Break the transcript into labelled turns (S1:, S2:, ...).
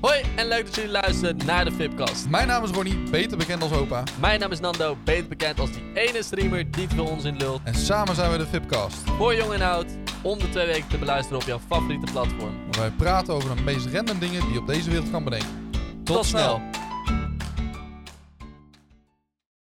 S1: Hoi en leuk dat jullie luisteren naar de Fipcast.
S2: Mijn naam is Ronnie, beter bekend als Opa.
S1: Mijn naam is Nando, beter bekend als die ene streamer die het voor ons in lult.
S2: En samen zijn we de Fipcast.
S1: Voor jong en oud, om de twee weken te beluisteren op jouw favoriete platform.
S2: Waar wij praten over de meest random dingen die je op deze wereld kan bedenken.
S1: Tot, snel.